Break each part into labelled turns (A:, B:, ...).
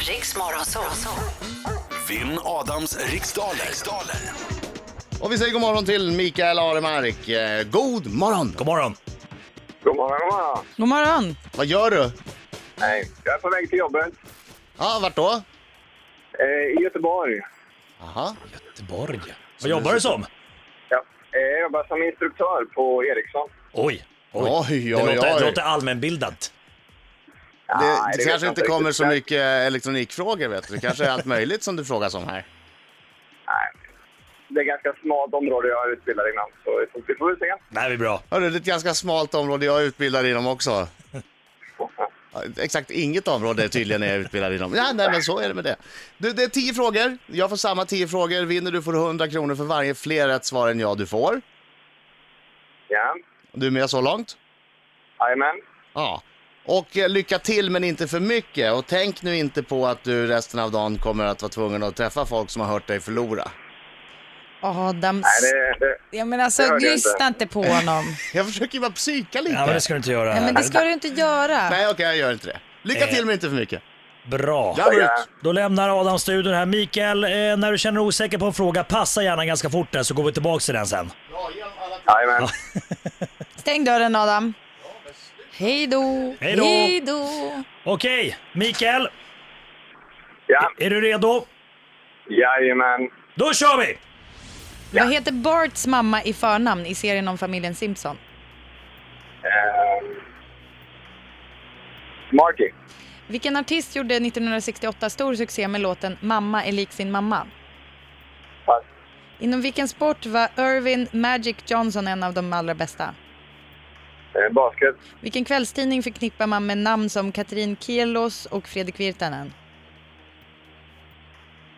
A: Riks Morgonzoo.
B: Vinn Adams riksdaler. riksdaler.
C: Och vi säger god morgon till Mikael Aremark. Eh, God morgon!
D: God morgon.
E: God morgon, god morgon.
F: God morgon!
C: Vad gör du?
E: Hej. Jag är på väg till jobbet
C: Ja, vart då?
E: eh, i Göteborg.
C: Aha.
D: Göteborg. Vad jobbar du som?
E: Ja. Eh, jag jobbar som instruktör på Ericsson.
D: Oj.
C: Oj, oj,
D: det, låter,
C: oj.
D: det låter allmänbildat.
C: Det,
E: Nej,
C: det
E: vet
C: kanske
E: jag
C: inte kommer
E: riktigt.
C: så mycket eh, elektronikfrågor vet du. Det kanske är allt möjligt som du frågar om här.
E: Nej. Det är ganska smalt område jag utbildar inom, så vi får väl se.
D: Det här blir bra.
C: Hörru, det är ett ganska smalt område jag är utbildad inom också. Ja, Exakt inget område tydligen är jag utbildad inom. Ja, nej, men så är det med det. Du, det är tio frågor. Jag får samma tio frågor. Vinner du får du 100 kronor för varje fler rätt svar än jag du får.
E: Ja.
C: Du är med så långt?
E: Jajamän.
C: Ja. Och eh, lycka till men inte för mycket. Och tänk nu inte på att du resten av dagen kommer att vara tvungen att träffa folk som har hört dig förlora.
F: Adam,
E: Nej, det, det,
F: ja, men alltså,
E: det hörde jag
F: lyssna inte.
E: inte.
F: på honom.
C: Jag försöker ju bara psyka lite.
D: Ja, men det ska du inte göra.
F: Ja, men det ska du inte göra.
C: Nej okej, jag gör inte det. Lycka
D: Eh.
C: till men inte för mycket.
D: Bra.
C: Jag går ut.
D: Då lämnar Adam studion här. Mikael, eh, när du känner dig osäker på en fråga, passa gärna ganska fort där så går vi tillbaka till den sen.
E: jajamän.
F: Stäng dörren Adam. Hej då!
D: Hej då.
F: Hej då!
D: Okej, Mikael,
E: Ja.
D: är du redo?
E: Jajamän.
D: Då kör vi!
F: Vad heter Barts mamma i förnamn i serien om familjen Simpson?
E: Eh, Marky.
F: Vilken artist gjorde 1968 stor succé med låten Mamma är lik sin mamma?
E: Pass.
F: Inom vilken sport var Irvin Magic Johnson en av de allra bästa?
E: Eh, basket.
F: Vilken kvällstidning förknippar man med namn som Katrin Kielos och Fredrik Virtanen?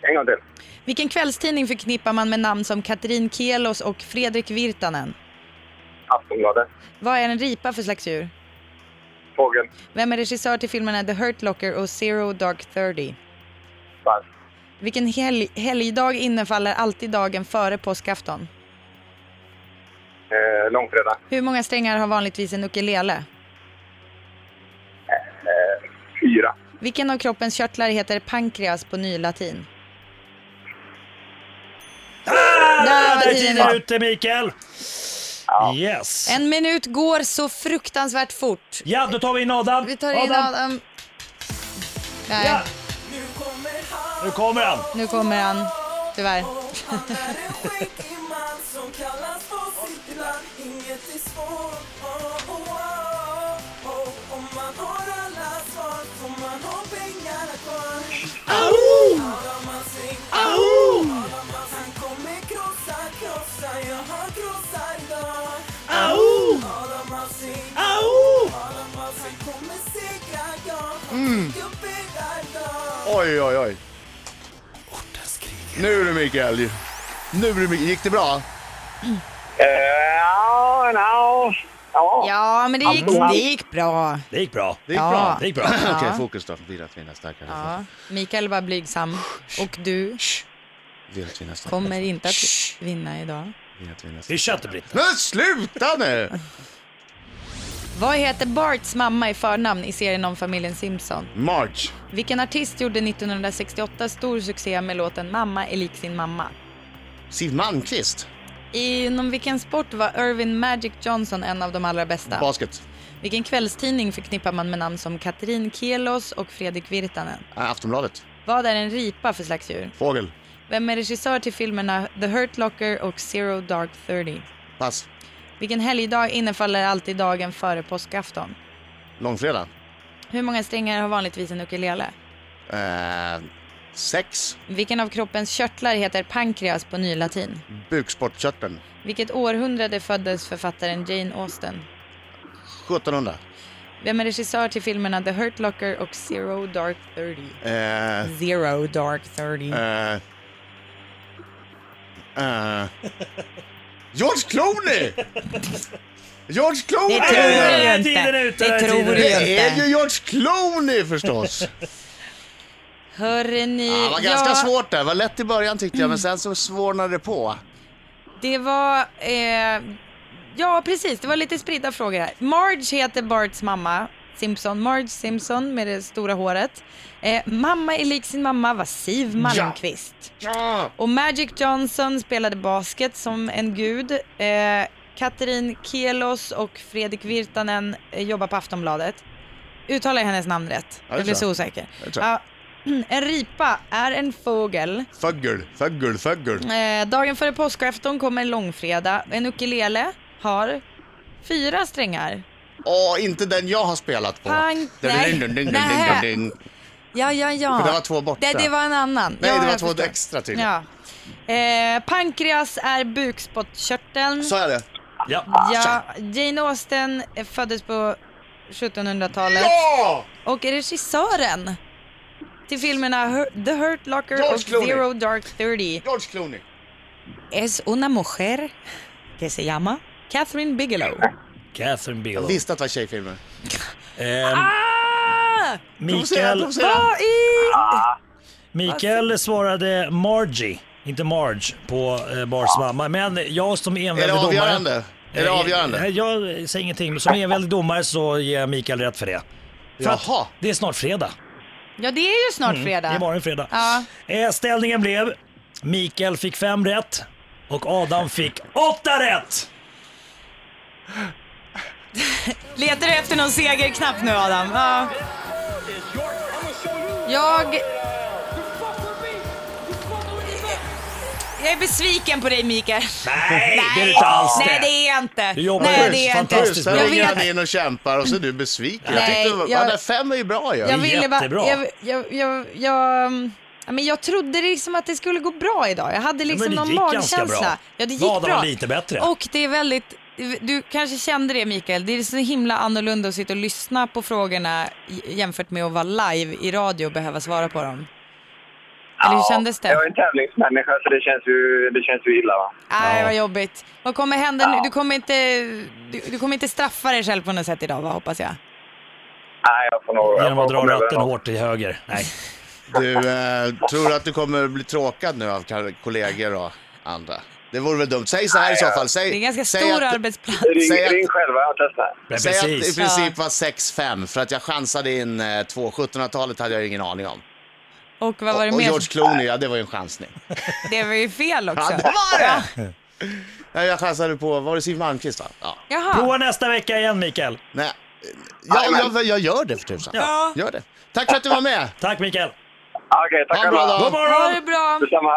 E: En gång till.
F: Vilken kvällstidning förknippar man med namn som Katrin Kielos och Fredrik Virtanen?
E: Aftonbladet.
F: Vad är en ripa för slags djur?
E: Fågel.
F: Vem är regissör till filmerna The Hurt Locker och Zero Dark Thirty?
E: Pass.
F: Vilken helg, helgdag innefaller alltid dagen före påskafton?
E: Eh, långfredag.
F: Hur många strängar har vanligtvis en ukulele?
E: Fyra.
F: Vilken av kroppens körtlar heter pankreas på nylatin? Där var
D: Där är
F: tiden
D: tiden
F: ut.
D: ute Mikael. Yes.
F: En minut går så fruktansvärt fort.
D: Ja, då tar vi in Adam.
F: Vi tar in Adam. Nej,
D: Ja. Nu kommer han.
F: nu kommer han. Tyvärr.
G: Han är en skäggig man som kallas på sitt land Inget är svårt oh, oh, oh, oh. Om man har alla svar får man ha pengarna kvar Adam han sing Adam han Han kommer krossa, krossa Jag har krossar idag Adam han sing Adam han sing Kommer segra jag Han fick upp era idag
C: Oj, oj, oj. Nu är du Mikael. Nu är du Mikael. Gick det bra?
E: Eh, ja, no. Ja.
F: Ja, men det gick, det gick bra.
D: Det gick bra.
C: Det gick
F: Ja.
C: bra.
D: Det gick bra.
C: Okej,
F: Ja.
C: fokus då. Vill att vinna starkare.
F: Ja, Mikael var blygsam. Och du
C: Vill att vinna starkare.
F: kommer inte att vinna idag.
C: Vill att vinna starkare.
D: Vi köter Britta.
C: Men sluta nu!
F: Vad heter Barts mamma i förnamn i serien om familjen Simpson?
C: March.
F: Vilken artist gjorde 1968 stor succé med låten Mamma är lik sin mamma?
C: Siw Malmkvist.
F: Inom vilken sport var Irvin Magic Johnson en av de allra bästa?
C: Basket.
F: Vilken kvällstidning förknippar man med namn som Katrin Kielos och Fredrik Virtanen?
C: Äh, Aftonbladet.
F: Vad är en ripa för slags djur?
C: Fågel.
F: Vem är regissör till filmerna The Hurt Locker och Zero Dark Thirty?
C: Pass.
F: Vilken helgdag innefaller alltid dagen före påskafton?
C: Långfredag.
F: Hur många strängar har vanligtvis en ukulele?
C: Eh, sex.
F: Vilken av kroppens körtlar heter pankreas på nylatin?
C: Bukspottkörteln.
F: Vilket århundrade föddes författaren Jane Austen?
C: 1700.
F: Vem är regissör till filmerna The Hurt Locker och Zero Dark Thirty?
C: Eh,
F: Zero Dark Thirty.
C: eh, eh. George Clooney! George Clooney!
F: Det tror
D: Där
F: du
D: är
F: inte.
D: tiden ute, där
F: Det
D: är
F: tror
D: tiden
F: du
D: ute.
C: Det är ju
F: inte.
C: George Clooney förstås.
F: Hörrni,
C: Ja, det var ganska svårt där. Det var lätt i början tyckte jag, men sen så svårnade det på.
F: Det var... Eh, ja, precis. Det var lite spridda frågor här. Marge heter Barts mamma Simpson, Marge Simpson med det stora håret. Eh, mamma är lik sin mamma var Siv Malmqvist.
C: Ja!
F: Och Magic Johnson spelade basket som en gud. Eh, Katrin Kielos och Fredrik Virtanen eh, jobbar på Aftonbladet. Uttalar jag hennes namn rätt?
C: Ja, det
F: jag
C: tror
F: blev så
C: jag.
F: osäker.
C: Det tror jag.
F: Ja, en ripa är en fågel.
C: Föggel, föggel, föggel.
F: Eh, dagen före påskafton kommer långfredag. En ukulele har fyra strängar.
C: Åh, inte den jag har spelat på.
F: Pang,
C: Dun, dun,
F: nej.
C: dun, dun, dun,
F: Nähä.
C: dun, dun.
F: Ja, ja, ja.
C: För det var två borta.
F: Det, det var en annan.
C: Nej,
F: Ja,
C: det var
F: jag
C: två
F: förstår.
C: extra tydligen.
F: Ja. Eh, pankreas är bukspottkörteln.
C: Sa jag det?
D: Ja.
F: Ja, Jane Austen föddes på 1700-talet
C: Ja!
F: och är regissören till filmerna Hur- The Hurt Locker
C: George
F: och
C: Clooney.
F: Zero Dark Thirty.
C: George Clooney.
F: Es una mujer que se llama Catherine Bigelow.
D: Catherine Bigelow.
C: Visste att det var tjejfilmer.
D: Eh,
F: Ah!
D: Mikael,
C: Provocera.
F: Vad Ah! i...
D: Mikael svarade Margie, inte Marge, på eh, Bars
F: Ah.
D: mamma. Men jag som enväldig
C: Är det
D: domare...
C: avgörande? Är det
D: Eh,
C: avgörande?
D: Nej, jag säger ingenting. Men som enväldig domare så ger jag Mikael rätt för det. För att
C: Jaha.
D: Det är snart fredag.
F: Ja, det är ju snart fredag.
D: Mm. Det är imorgon fredag.
F: Ja.
D: Eh, ställningen blev Mikael fick fem rätt och Adam fick åtta rätt.
F: Letar du efter någon segerknapp nu, Adam? Ja. Jag... Jag är besviken på dig, Mikael.
D: Nej, det är inte alls
F: Nej,
D: det.
F: det är jag inte.
D: Du jobbar
F: Nej,
D: ju
F: det är jag inte.
D: fantastiskt
C: Sen
D: bra.
F: Jag
C: ringer han
F: vet.
C: in och kämpar och så är du besviken.
F: Nej,
C: jag tyckte,
F: jag-
C: jag... fem är ju bra ju.
F: Jag
D: är
F: ville bara...
D: jättebra.
F: Jag, jag, jag, jag, mm, ja, men jag trodde liksom att det skulle gå bra idag. Jag hade liksom
D: det
F: någon
D: gick ganska
F: magkänsla.
D: bra.
F: Ja, det gick
D: Adam
F: bra.
D: var lite bättre.
F: Och det är väldigt... Du kanske kände det Mikael, det är så himla annorlunda att sitta och lyssna på frågorna j- jämfört med att vara live i radio och behöva svara på dem. Eller hur kändes det?
E: Jag är en tävlingsmänniska så det känns ju, det känns ju illa. Va?
F: Nej, vad jobbigt. Vad kommer hända nu? Du kommer, inte, du, du kommer inte straffa dig själv på något sätt idag, va, hoppas jag?
E: Nej, jag får nog...
D: Genom att
E: jag
D: dra
E: får komma över
D: ratten
E: den.
D: hårt till höger. Nej.
C: Du, eh, tror du att du kommer bli tråkad nu av kall- kollegor och andra? Det vore väl dumt. Säg så här i så fall. Säg,
F: Det är en ganska
C: säg
F: stor
C: att,
F: arbetsplats.
C: Säg att-
E: Ring, ring själva och testa.
D: Men
C: Säg att det i
D: precis.
C: princip var 6-5 för att jag chansade in eh, två. 1700-talet hade jag ingen aning om.
F: Och vad var det
C: och
F: mer?
C: George Clooney, ja det var ju en chansning.
F: Det var ju fel
C: Ja,
F: också.
C: det var det! Nej, jag chansade på, var det Siw Malmkvist va? Ja.
F: Jaha.
D: Prova nästa vecka igen Mikael.
C: Nej. Jag, jag, jag gör det för tusan.
D: Ja.
C: Gör det. Tack för att du var med.
D: Tack Mikael.
E: Okej, tackar.
C: Ha en bra
E: alla.
C: dag.
D: God
F: Ha
D: morgon!
F: det bra.
E: Detsamma.